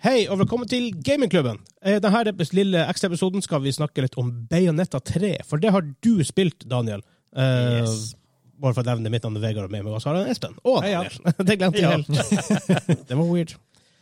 Hei og velkommen til Gamingklubben. I denne epis- lille ekstraepisoden skal vi snakke litt om Bayonetta 3, for det har du spilt, Daniel. Eh, Yes. Bare for å nevne mitt navn er Vegard, og med meg også har jeg Espen. Og Hei, ja. Daniel. Det glemte jeg Ja. helt. det var weird.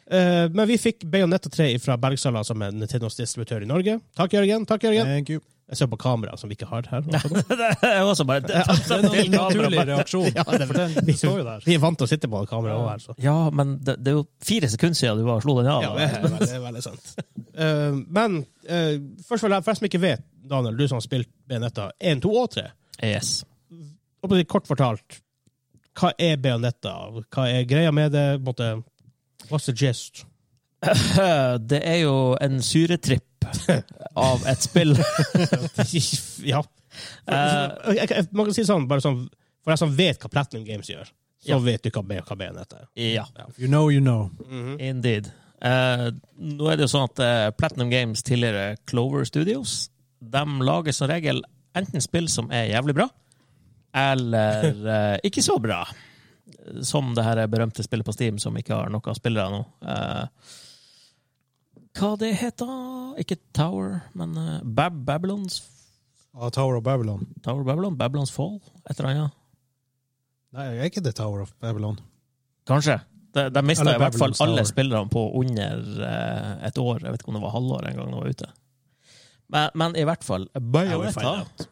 Eh, men vi fikk Bayonetta 3 fra Bergsala, som er Nintendos-distributør i Norge. Takk, Jørgen. Takk, Jørgen. Thank you. Jeg ser på kamera, som vi ikke har her. det er jo også bare det, Det er en naturlig reaksjon. Ja, det- for den, den står jo der. Vi er vant til å sitte på kamera også her, så. Ja, men det, det er jo fire sekunder siden du var og slo den av. Ja, det er, det er veldig sant. Eh, men eh, først og fremst, for jeg som ikke vet, Daniel, du som har spilt Benetta 1, 2 og 3, yes. og på det kort fortalt, hva er Benetta? Hva er greia med det? På en måte, What's the gist? Det er jo en syretripp av et spill. ja. For- jeg- jeg- Man kan si sånn, bare sånn, for jeg som vet hva Platinum Games gjør, så Ja. vet du hva, B- hva Benetta er. Ja, You know, you know. Mhm. indeed. Eh, nå er det jo sånn at eh, Platinum Games, tidligere Clover Studios, de lager som regel enten spill som er jævlig bra, eller eh, ikke så bra. Som det her berømte spillet på Steam som ikke har noen spillere nå. Eh, hva det heter Ikke Tower, men eh, Bab Babylons Ah, Tower of Babylon. Tower Babylon? Babylons Fall? Et eller annet? Nei, er ikke det Tower of Babylon? Kanskje. De, de mista i Eller hvert fall Babylon's alle Tower. spillerne på under eh, et år. Jeg vet ikke om det var halvår en gang de var ute. Men, men i hvert fall I will find Bayonetta, out.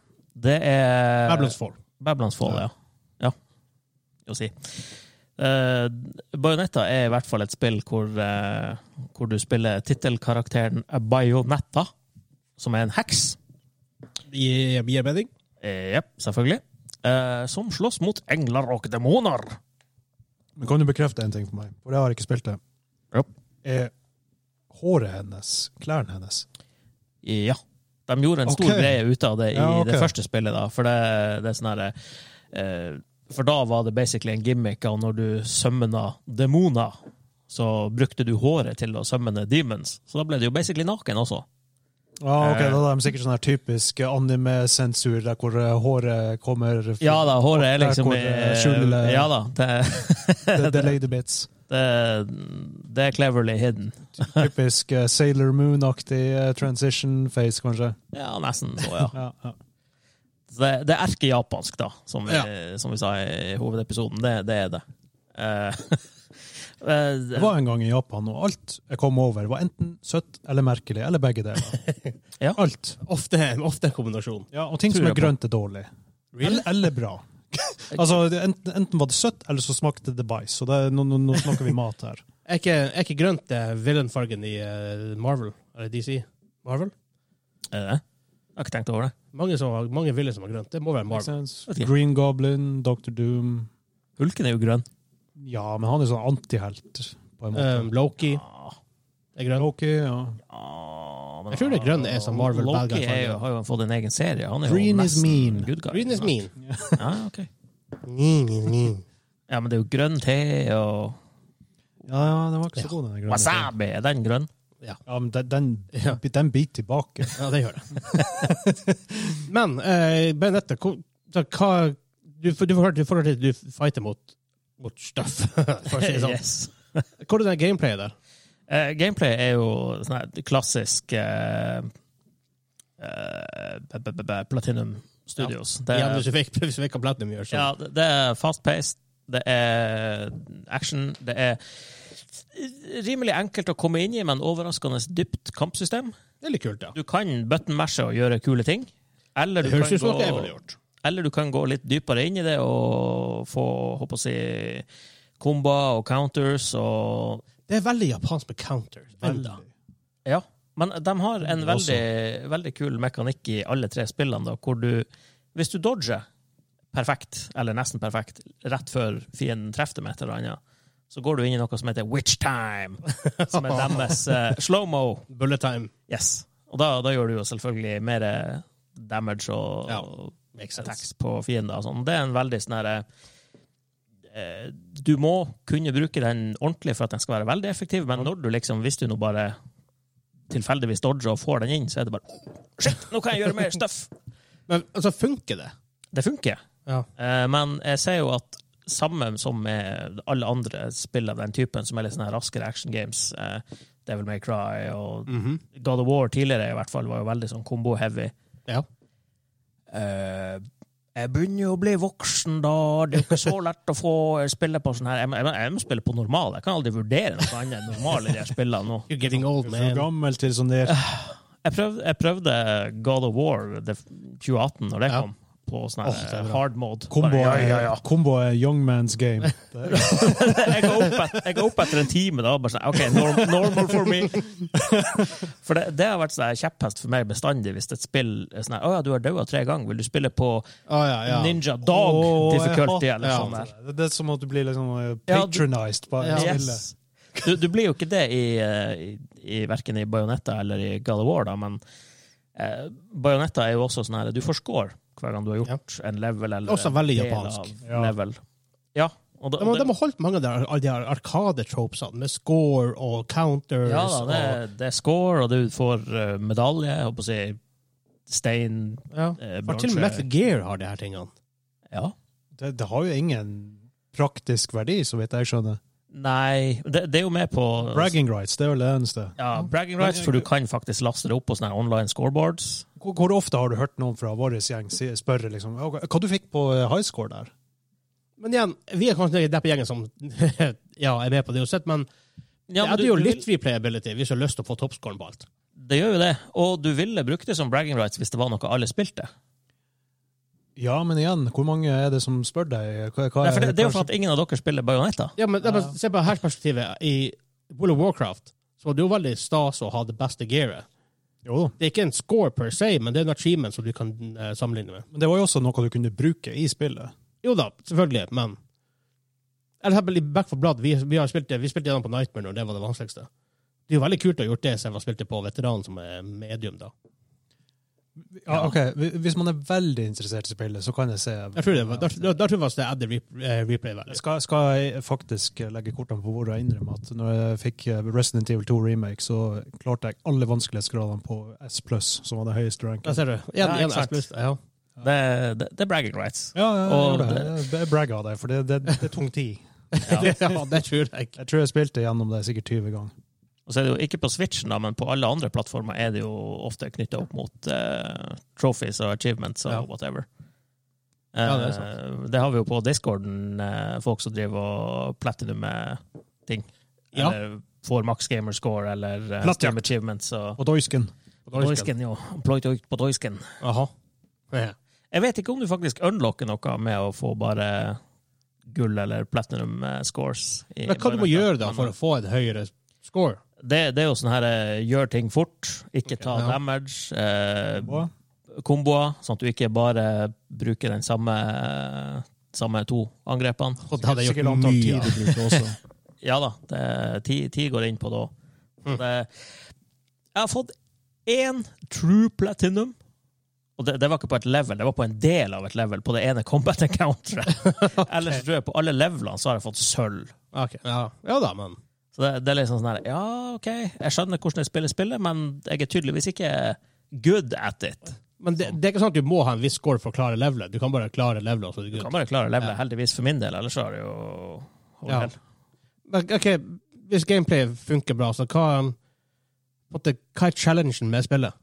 det er Babylon's Fall. Babylons Fall, ja. Ja, å si. Eh, Bayonetta er i hvert fall et spill hvor, eh, hvor du spiller tittelkarakteren Bayonetta, som er en heks. Gir gir mening? Eh, Jepp, selvfølgelig. Eh, som slåss mot engler og demoner. Men kan du bekrefte en ting for meg? For jeg har ikke spilt det. Ja. Er håret hennes, klærne hennes Ja. De gjorde en stor Ok. greie ut av det i Ja, ok. det første spillet, da. For det, det er sånn herre eh, For da var det basically en gimmick av når du sømna demoner, så brukte du håret til å sømne demons. Så da ble du jo basically naken også. Ja, ok, Eh. da er de sikkert sånn her typisk anime-sensur, der hvor eh, håret kommer fra- Ja da, håret er Der liksom hvor, eh, skjulele- Ja da. Det, The, the lady bits. det, det er cleverly hidden. Typisk eh, Sailor Moon-aktig eh, transition face, kanskje. Ja, nesten så, ja. Ja, ja. Så Det, det er erkejapansk, da, som vi, Ja. som vi sa i hovedepisoden. Det, det er det. Eh, eh, Det var en gang i Japan, og alt jeg kom over, var enten søtt eller merkelig, eller begge deler. Ja. Alt. Ofte, ofte en kombinasjon. Ja, og ting Tror som er jeg på. grønt, er dårlig. Eller, eller bra. altså, det- enten, enten var det søtt, eller så smakte det bæsj. Så det, er- nå, nå, nå snakker vi mat her. Er ikke, er ikke grønt det er villainfargen i eh, Marvel? Eller DC? Marvel? Er det det? Jeg har ikke tenkt over det. Mange, som har, mange villains som har grønt. Det må være Makes Marvel. sense. Ok. Green Goblin, Dr. Doom Hulken er jo grønn. Ja, men han er sånn antihelt, på en måte. Um, Loki er grønn. Loki, ja. Jeg tror det grønne er som Marvel bad Loki guy er jo, farger. har jo fått en egen serie. Han er Green jo is nesten mean. Good guy, Green is Ja. mean. Ja, ok. ja, men det er jo grønn te og Ja, ja, den var ikke så god, den grønne. wasabi. Er den grønn? Ja, men den, den, den biter tilbake. Ja, det gjør det. Men uh, Benette, hvor- så hva Du, for, du, får- du får høre at du fighter mot, mot stuff. for å si det sånn. Yes. Hvordan er gameplayet der? Eh, gameplay er jo sånn her klassisk eh, eh, b- b- b- b- Platinum Studios. Det, Igjen, hvis er- vi fikk- hvis vi ikke har Platinum gjør, så ja, det det er fast-paced, det er action, det er rimelig enkelt å komme inn i, men overraskende dypt kampsystem. det er litt kult, ja. Du kan button-mashe og gjøre kule ting. Eller Det du, høres kan ut som noe jeg ville gå, gjort. eller du kan gå litt dypere inn i det og få håper å si, komba og counters og Det er veldig japansk med counters. Enda. Ja. Men de har en Det er også- veldig, veldig kul mekanikk i alle tre spillene, da, hvor du Hvis du dodger perfekt, eller nesten perfekt, rett før fienden treffer deg med et eller annet, så går du inn i noe som heter witch time, som er deres eh, slow-mo. Bullet time. Yes. Og da, da gjør du jo selvfølgelig mer damage og, Ja, og attacks på fiender og sånn. Det er en veldig sånn herre eh, Du må kunne bruke den ordentlig for at den skal være veldig effektiv, men når du liksom, hvis du nå bare tilfeldigvis dodger og får den inn, så er det bare «Oh, Shit, nå kan jeg gjøre mer stuff! Men altså, funker det? Det funker. Ja. Eh, men jeg ser jo at sånn samme som med alle andre spill av den typen, som er litt sånne her raskere action games, eh, Devil May Cry og Mhm. God of War tidligere i hvert fall var jo veldig sånn combo-heavy. Ja. Eh, jeg begynner jo å bli voksen, da. Det er jo ikke så lett å få spille på sånn her. Jeg, må- jeg, må- jeg må spille på normal. Jeg kan aldri vurdere noe annet enn normal i de her spillene nå. You're getting old, For man. gammel til sånn der. Jeg prøvde, jeg prøvde God of War det, 2018 når det Ja. kom, på sånn Åh, det her er bra. hard mode. Kombo Bare, er, kombo er young man's game. Det er- jeg ga opp, et, jeg ga opp etter en time. da, bare sånn, ok, norm, normal for me. For det, det har vært sånn her kjepphest for meg bestandig hvis et spill er sånn her, å ja, du har daua tre ganger, vil du spille på Å Ah, ja, ja. Ninja Dog Åh, jeg difficulty hater eller sånn det. der? Det er som at du blir liksom eh, Ja, du- patronized på Ja. ja. spillet. Yes. Du, du blir jo ikke det i, eh, i, i verken i Bajonetta eller i God of War, da, men eh, Bajonetta er jo også sånn her, du får score hver gang du har gjort en level eller Også en veldig del japansk. av Ja. Level. Ja, og da, De, har- og de det, har holdt mange av de, alle de her arkadetropesene med score og counters. ja da, det, og, er- det er score, og du får eh, medalje, jeg holdt på å si stein, ja. eh, For til og med Metal bronse Gear har de her tingene. ja. Det, det har jo ingen praktisk verdi, så vidt jeg skjønner. Nei, det, det er jo med på Bragging rights, det er vel det eneste. ja, bragging rights, for du kan faktisk laste det opp på sånne her online scoreboards. Hvor, hvor ofte har du hørt noen fra vår gjeng si- spørre liksom, «Å, hva du fikk på eh, high score der? Men igjen, vi er kanskje den på gjengen som ja, er med på det uansett, men det Ja, men hadde du- jo du vil- litt replayability hvis du har lyst til å få toppscoren på alt. Det gjør jo det, og du ville brukt det som bragging rights hvis det var noe alle spilte. Ja, men igjen, hvor mange er det som spør deg? Hva, hva, Nei, for det, det er jo hva- for at ingen av dere spiller Bajonetta. Ja, men, ja. men Se på her perspektivet. I World of Warcraft så var det jo veldig stas å ha det beste gearet. Jo da. Det er ikke en score per se, men det er en achievement som du kan eh, sammenligne med. Men det var jo også noe du kunne bruke i spillet. Jo da, selvfølgelig, men Eller her i Back for Blood, vi, vi, har spilt det, vi spilte gjennom på Nightmare når det var det vanskeligste. Det er jo veldig kult å ha gjort det siden vi har spilt det på Veteranen, som er medium, da. Ja, ok. Hvi- Hvis man er veldig interessert i spillet, så kan jeg se Jeg tror det var, der, der, der tror jeg faktisk det er added rep- eh, replay value. skal, skal jeg faktisk legge kortene på bordet og innrømme at når jeg fikk eh, Resident Evil 2 remake, så klarte jeg alle vanskelighetsgradene på S+, som var det høyeste Der ranken. ser du. Ja, Igjen, igjen, ikke sant. S+, ja. Det, det, det er bragging rights. Ja, ja, jeg Og gjorde det. det- Jeg- jeg bragger av deg, for det, det, det er tung tid. Ja. ja, det tror jeg. Jeg tror jeg spilte gjennom det sikkert 20 ganger. Og så er det jo ikke på Switchen, da, men på alle andre plattformer er det jo ofte knytta opp mot eh, trophies og achievements og Ja. whatever. Ja, det er Eh, det har vi jo på discorden, eh, folk som driver og platinum med ting. Ja. Eller får max gamer score eller uh, Platinum. stream achievements og Og Doisken. Doisken, jo. Ploitoik på Doisken. Aha. Ja. Jeg vet ikke om du faktisk unlocker noe med å få bare gull eller platinum eh, scores. i Men hva du må Bayonetta. gjøre da for å få en høyere score? det, det er jo sånn her eh, gjør ting fort, ikke ta Ja. damage, eh, Og komboer, sånn at du ikke bare bruker den samme, eh, samme to angrepene. Og det hadde jeg sikkert gjort antall mye tid av. du bruker også. Ja da, det, ti, ti går inn på det òg. Mm. Jeg har fått én true platinum. Og det, det var ikke på et level, det var på en del av et level, på det ene combat encounteret. Ellers tror jeg på alle levelene så har jeg fått sølv. Ok, Ja. ja da, men Så det, det er liksom sånn her Ja, OK, jeg skjønner hvordan jeg spiller spillet, men jeg er tydeligvis ikke good at it. Men det, det er ikke sånn at du må ha en viss score for å klare levelet. Du kan bare klare levelet. og så er det Du good. kan bare klare levelet, heldigvis for min del, ellers så er det jo Ja. ja. Men, ok, Hvis gameplay funker bra, så hva, er- på en måte, hva er challengen med spillet?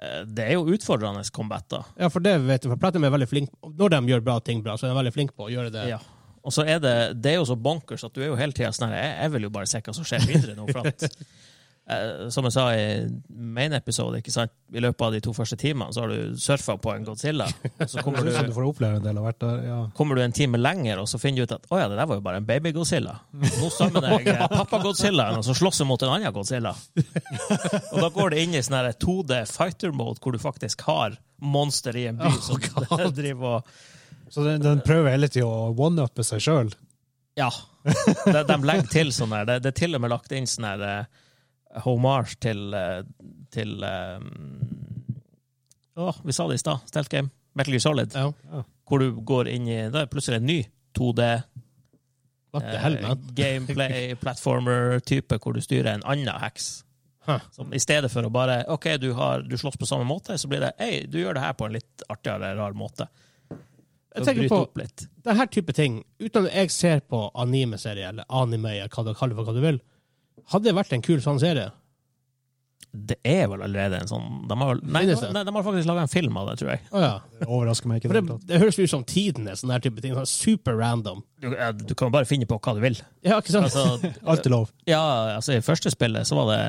Eh, Det er jo utfordrende combat, da. Ja, for det vet du, for Platinum er veldig flink Når de gjør bra ting bra, så er de veldig flinke på å gjøre det. Ja. Og så er det, det er jo så bonkers at du er jo hele tida sånn her jeg, jeg vil jo bare se hva som skjer videre nå. For at, eh, som jeg sa i main episode, ikke sant? i løpet av de to første timene så har du surfa på en Godzilla. Og så Det kommer er sånn du, du får oppleve en del av hvert der, ja. kommer du en time lenger, og så finner du ut at å ja, det der var jo bare en baby-Godzilla. Nå sammen er jeg pappa-Godzillaen, og så slåss jeg mot en annen Godzilla. Og da går det inn i sånn her 2D fighter-mode, hvor du faktisk har monster i en by som driver og Så den, den prøver hele tida å one-uppe seg sjøl. Ja. De, de legger til sånn her. Det, det er til og med lagt inn sånn her eh, homage til eh, til eh, Å, vi sa det i stad. Stealth Game. Metal Gear Solid. Ja. Hvor du går inn i Da er det plutselig en ny 2D What Eh, the hell, man? gameplay-platformer-type, hvor du styrer en annen heks. Huh. Som, I stedet for å bare OK, du, har, du slåss på samme måte, så blir det Hei, du gjør det her på en litt artigere, rar måte. Jeg Så tenker bryter på- opp litt. Denne type ting, uten at jeg ser på anime-serier, eller anime, eller hva du kaller det for hva du vil, Hadde det vært en kul sånn serie? Det er vel allerede en sånn de har, vel- nei, Finnes det? nei, de har faktisk laga en film av det, tror jeg. Å ja. Det overrasker meg ikke. i For Det, hele det, tatt. det høres ut som tiden er sånn her type ting. Sånn super random. Du, eh, du kan bare finne på hva du vil. Ja, ikke sant? Altså, Alt er lov. ja, altså I første spillet så var det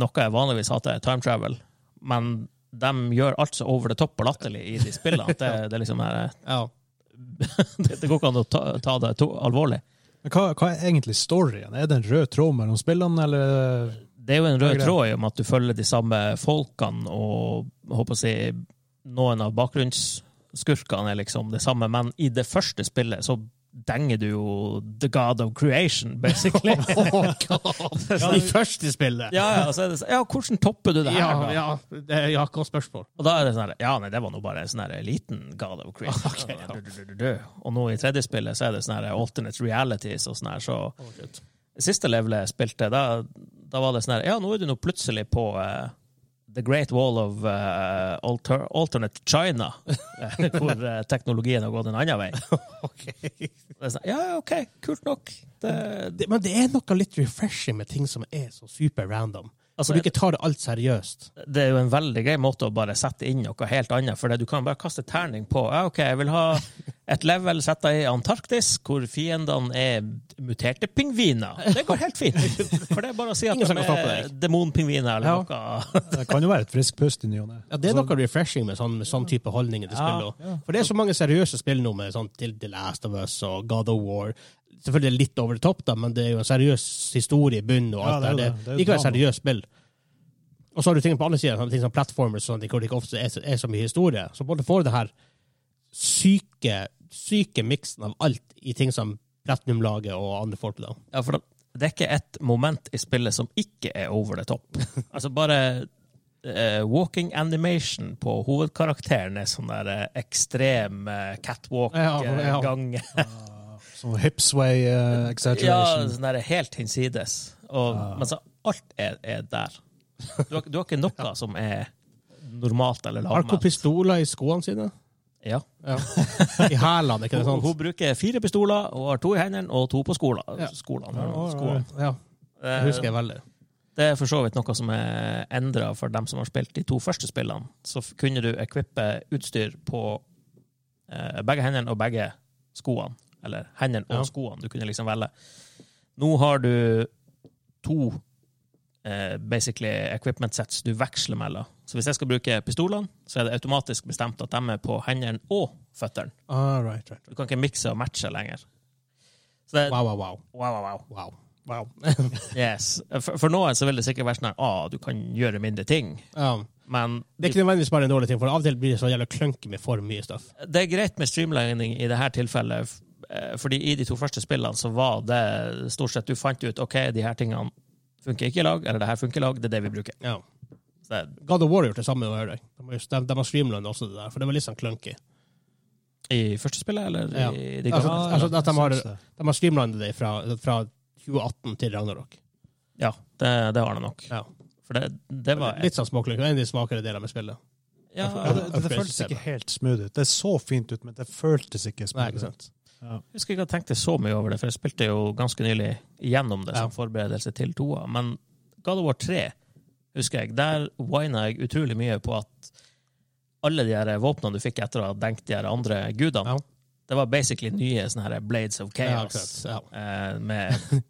noe jeg vanligvis hater, time travel. Men de gjør alt så over the top og latterlig i de spillene. at Det, det, er liksom, eh, ja. det, det går ikke an å ta, ta det to, alvorlig. Men hva, hva er egentlig storyen? Er det en rød tråd mellom spillene, eller Det er jo en Ja, rød greit. tråd i om at du følger de samme folkene, og jeg håper å si, noen av bakgrunnsskurkene er liksom det samme, men i det første spillet så denger du jo the god of creation, basically. ja, I første spillet? Oh ja, ja, så er det, så- ja, hvordan topper du det her, Ja, da? ja, det er- ja, hva spørsmål? Og da er det sånn her, ja, nei, det var nå bare en sånn her liten God of Creation. Du, du, du, du, du. Og nå i tredje spillet så er det sånn her alternate realities og sånn her, så siste levelet jeg spilte, da, da var det sånn her, ja, nå er du nå plutselig på eh, The Great Wall of eh, alter, Alternate China, eh, hvor eh, teknologien har gått en annen vei. Ok. Det er sånn, ja, ja, ok, kult nok. Det, Eh, det, men det er noe litt refreshing med ting som er så super random. Altså, for du ikke tar det alt seriøst. det er jo en veldig grei måte å bare sette inn noe helt annet, for det du kan bare kaste terning på. Ja, ok, jeg vil ha et level setta i Antarktis, hvor fiendene er muterte pingviner. Det går helt fint! For det er bare å si at Ingen som de kan stoppe er demonpingviner Ja. eller noe. Det kan jo være et friskt pust i ny og ne. Ja, det er Altså, noe refreshing med sånn, med sånn type holdninger til Ja, spill. også. For det er så mange seriøse spill nå, med sånn til The Last of Us og God of War. Selvfølgelig litt over the top, da, men det er jo en seriøs historie i bunnen. og Ja, alt det er det, der. det. det, Det er Ikke et drama. seriøst spill. Og så har du ting på andre siden, sånne ting som platformers, sånn, hvor det ikke ofte er, så- er så mye historie. Så både får det her syke, syke miksen av alt i ting som Platinum-laget og andre folk. da. Ja, for det- det er ikke et moment i spillet som ikke er over the top. Altså bare eh, walking animation på hovedkarakteren er sånn der eh, ekstrem eh, Ja, ja. catwalk-gang. Sånn hipsway uh, Ja, exaggeration. sånn der helt hinsides. Og, Ah. Men så alt er, er der. Du har, du har ikke noe som er normalt eller Har hun lavmælt. pistoler i skoene sine? Ja. Ja. I hælene, ikke Hun, sant? hun bruker fire pistoler, hun har to i hendene og to på skolen. Ja. skolen, her, Ja, ja, skolen. Ja, det Eh, husker jeg veldig. Det er for så vidt noe som er endra for dem som har spilt de to første spillene. Så f- kunne du equippe utstyr på eh, begge hendene og begge skoene. Eller hendene og Ja. skoene. Du kunne liksom velge. Nå har du to eh, basically equipment sets du veksler mellom. Så hvis jeg skal bruke pistolene, så er det automatisk bestemt at de er på hendene og føttene. Ah, right, right. Du kan ikke mikse og matche lenger. Så det, wow, Wow, wow, wow. wow, wow. wow. wow. Yes. For, for noen så vil det sikkert være sånn at ah, du kan gjøre mindre ting. Um, Men det er ikke nødvendigvis bare en dårlig ting, for av og til blir det så jævla klunky med for mye stuff. det er greit med streamlining i dette tilfellet, f- eh, fordi i de to første spillene så var det stort sett du fant ut ok, de her tingene funker ikke i lag, eller det her funker i lag, det er det vi bruker. Ja. Så det, God of War har gjort det samme, hører jeg. De, har just- de, de har streamlined også det der, for det var litt sånn klunky. I første spillet, eller Ja. i de Altså, gamle? altså, at de har, Syns det. de har streamlined det fra, fra 2018 til Ragnarok. ja, det, det har det nok. Ja. For det, det var Litt sånn småklunky. Det er En av de smakere delene med spillet. ja, Ja, det, det, det Upgrade føltes ikke helt smooth ut. Det så fint ut, men det føltes ikke Nei, smooth ikke ut. sant? Jeg husker ikke at jeg tenkte så mye over det, for jeg spilte jo ganske nylig igjennom det Ja. som forberedelse til toa. Men God of War 3, husker jeg, der whina jeg utrolig mye på at alle de her våpnene du fikk etter å ha denkt de her andre gudene, Ja. det var basically nye sånne her Blades of Ja, Chaos. akkurat. Ja. eh, med,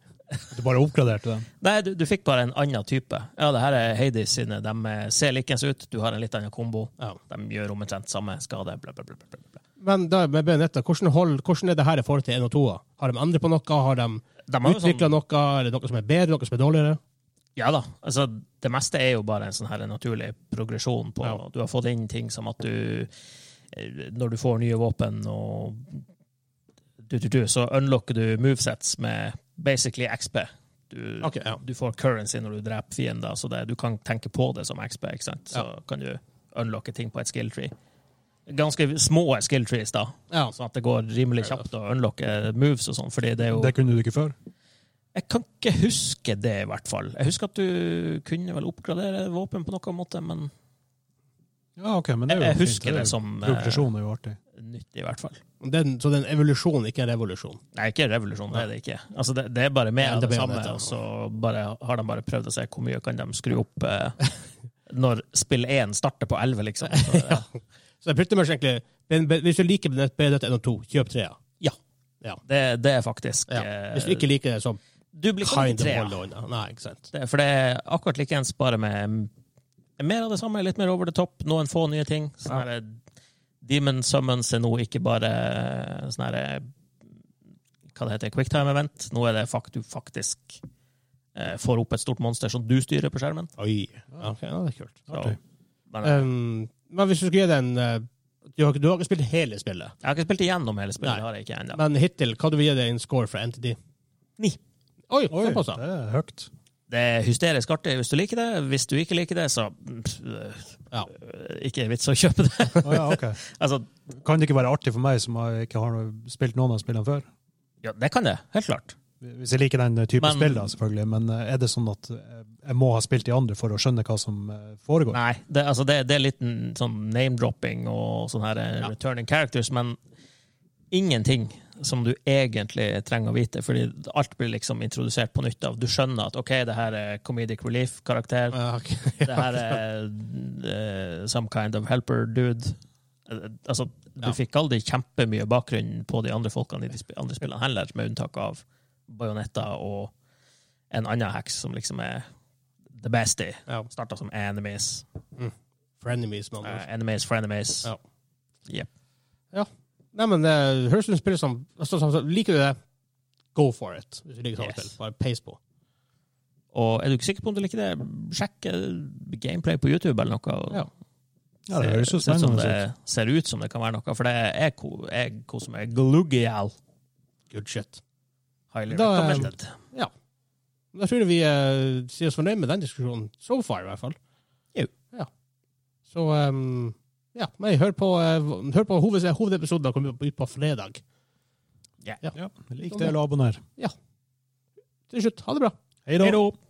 Du bare oppgraderte den. nei, du, du fikk bare en annen type. Ja, det her er Hades sine. De eh, ser likens ut, du har en litt annen kombo. Ja. De gjør omtrent samme skade. Bla, bla, bla, bla, bla. Men da med Benetta, hvordan, hold, hvordan er det her i forhold til 1 og 2? Har de andre på noe? Har de De har jo sånn- utvikla noe? Er det noe som er bedre, noe som er dårligere? Ja da. Altså, det meste er jo bare en sånn her naturlig progresjon. på. Ja. Du har fått inn ting som at du eh, Når du får nye våpen og du, du, du, så unlocker du movesets med basically XP. Du, Ok, ja. du får currency når du dreper fiender, så det, du kan tenke på det som XP. ikke sant? Så kan du unlocke ting på et skill tree. Ganske små skill trees, da, Ja. sånn at det går rimelig kjapt å unlocke moves og sånn. fordi det er jo... Det kunne du ikke før. Jeg kan ikke huske det, i hvert fall. Jeg husker at du kunne vel oppgradere våpen på noen måte, men Ja, ok, men det Jeg, er jo jeg fint, husker er det jo- som eh, Progresjon er jo artig. nyttig, i hvert fall. Den, så det er en evolusjon, ikke en revolusjon. Nei, ikke revolusjon, det er det ikke. Altså, det, det er bare mer Ja, av det det, blir samme, det, ja. og så bare, har de bare prøvd å se hvor mye kan de skru opp eh, når spill 1 starter på 11, liksom. Så, eh, Så det er pretty much egentlig men- men Hvis du liker Benett- Benett 1 og 2, kjøp 3. det, det er faktisk Ja. eh, Hvis du ikke liker det, så Du blir ikke kind of tre, ja. hold on. ja. Nei, ikke sant. Det, for det er akkurat like ens, bare med mer av det samme, litt mer over the top, noen få nye ting. Sånn her, Demon Summons er nå ikke bare sånn her Hva det heter quicktime event. Nå er det fakt, du faktisk eh, får opp et stort monster som du styrer på skjermen. Oi. Ja, ok, ja, det er kult. Så, Artig. men, eh, Um, men hvis du skulle gi den eh, du, har, ikke- du har ikke spilt hele spillet, jeg har ikke spilt igjennom hele spillet. Nei. det har jeg ikke enda. men hittil, hva du vil gi det en score fra NTD? Ni. Oi, Oi, såpass, det ja. er høyt. Det er hysterisk artig hvis du liker det. Hvis du ikke liker det, så pff, Ja. øh, ikke vits å kjøpe det. Å ja, ok. altså, Kan det ikke være artig for meg som har- ikke har noe- spilt noen av spillene før? ja, det kan det. Helt klart. Hvis jeg liker den eh, type Men- spill, da, selvfølgelig. Men eh, er det sånn at eh, jeg må ha spilt de andre for å skjønne hva som eh, foregår? Nei, det, altså det, det er litt n- sånn name-dropping og sånn her eh, Ja. returning characters, men ingenting som du egentlig trenger å vite, fordi alt blir liksom introdusert på nytt av. Du skjønner at OK, det her er comedic relief-karakter, Ja, ok. det her er eh, some kind of helper-dude. Eh, Altså, du Ja. fikk aldri kjempemye bakgrunn på de andre folkene i de sp andre spillene heller, med unntak av Bajonetta og en annen heks som liksom er the bestie. Ja. Starta som enemies. Frenemies, med andre ord. Uh, enemies for enemies. Ja. Jep. Nei, men det høres ut som spiller som altså, som- som- Liker du det, go for it. Hvis du liker sånne Yes. spill. Bare peis på. Og er du ikke sikker på om du liker det, sjekk eh, gameplay på YouTube eller noe. og Ja. Ja, det høres jo se- se ut som spennende ut. det ser ut som det kan være noe, for det er ko- jeg koser meg glugial. Good shit. Highly Da, eh, recommended. Da tror jeg vi eh, sier oss fornøyd med den diskusjonen. So far, i hvert fall. Jo. Ja. Så ehm, ja, men hør på, eh, hør på hoved, hovedepisoden som kommer ut på fredag. Ja. ja. Ja, lik del og abonner. Til slutt, ha det bra. Hei da. Hei da.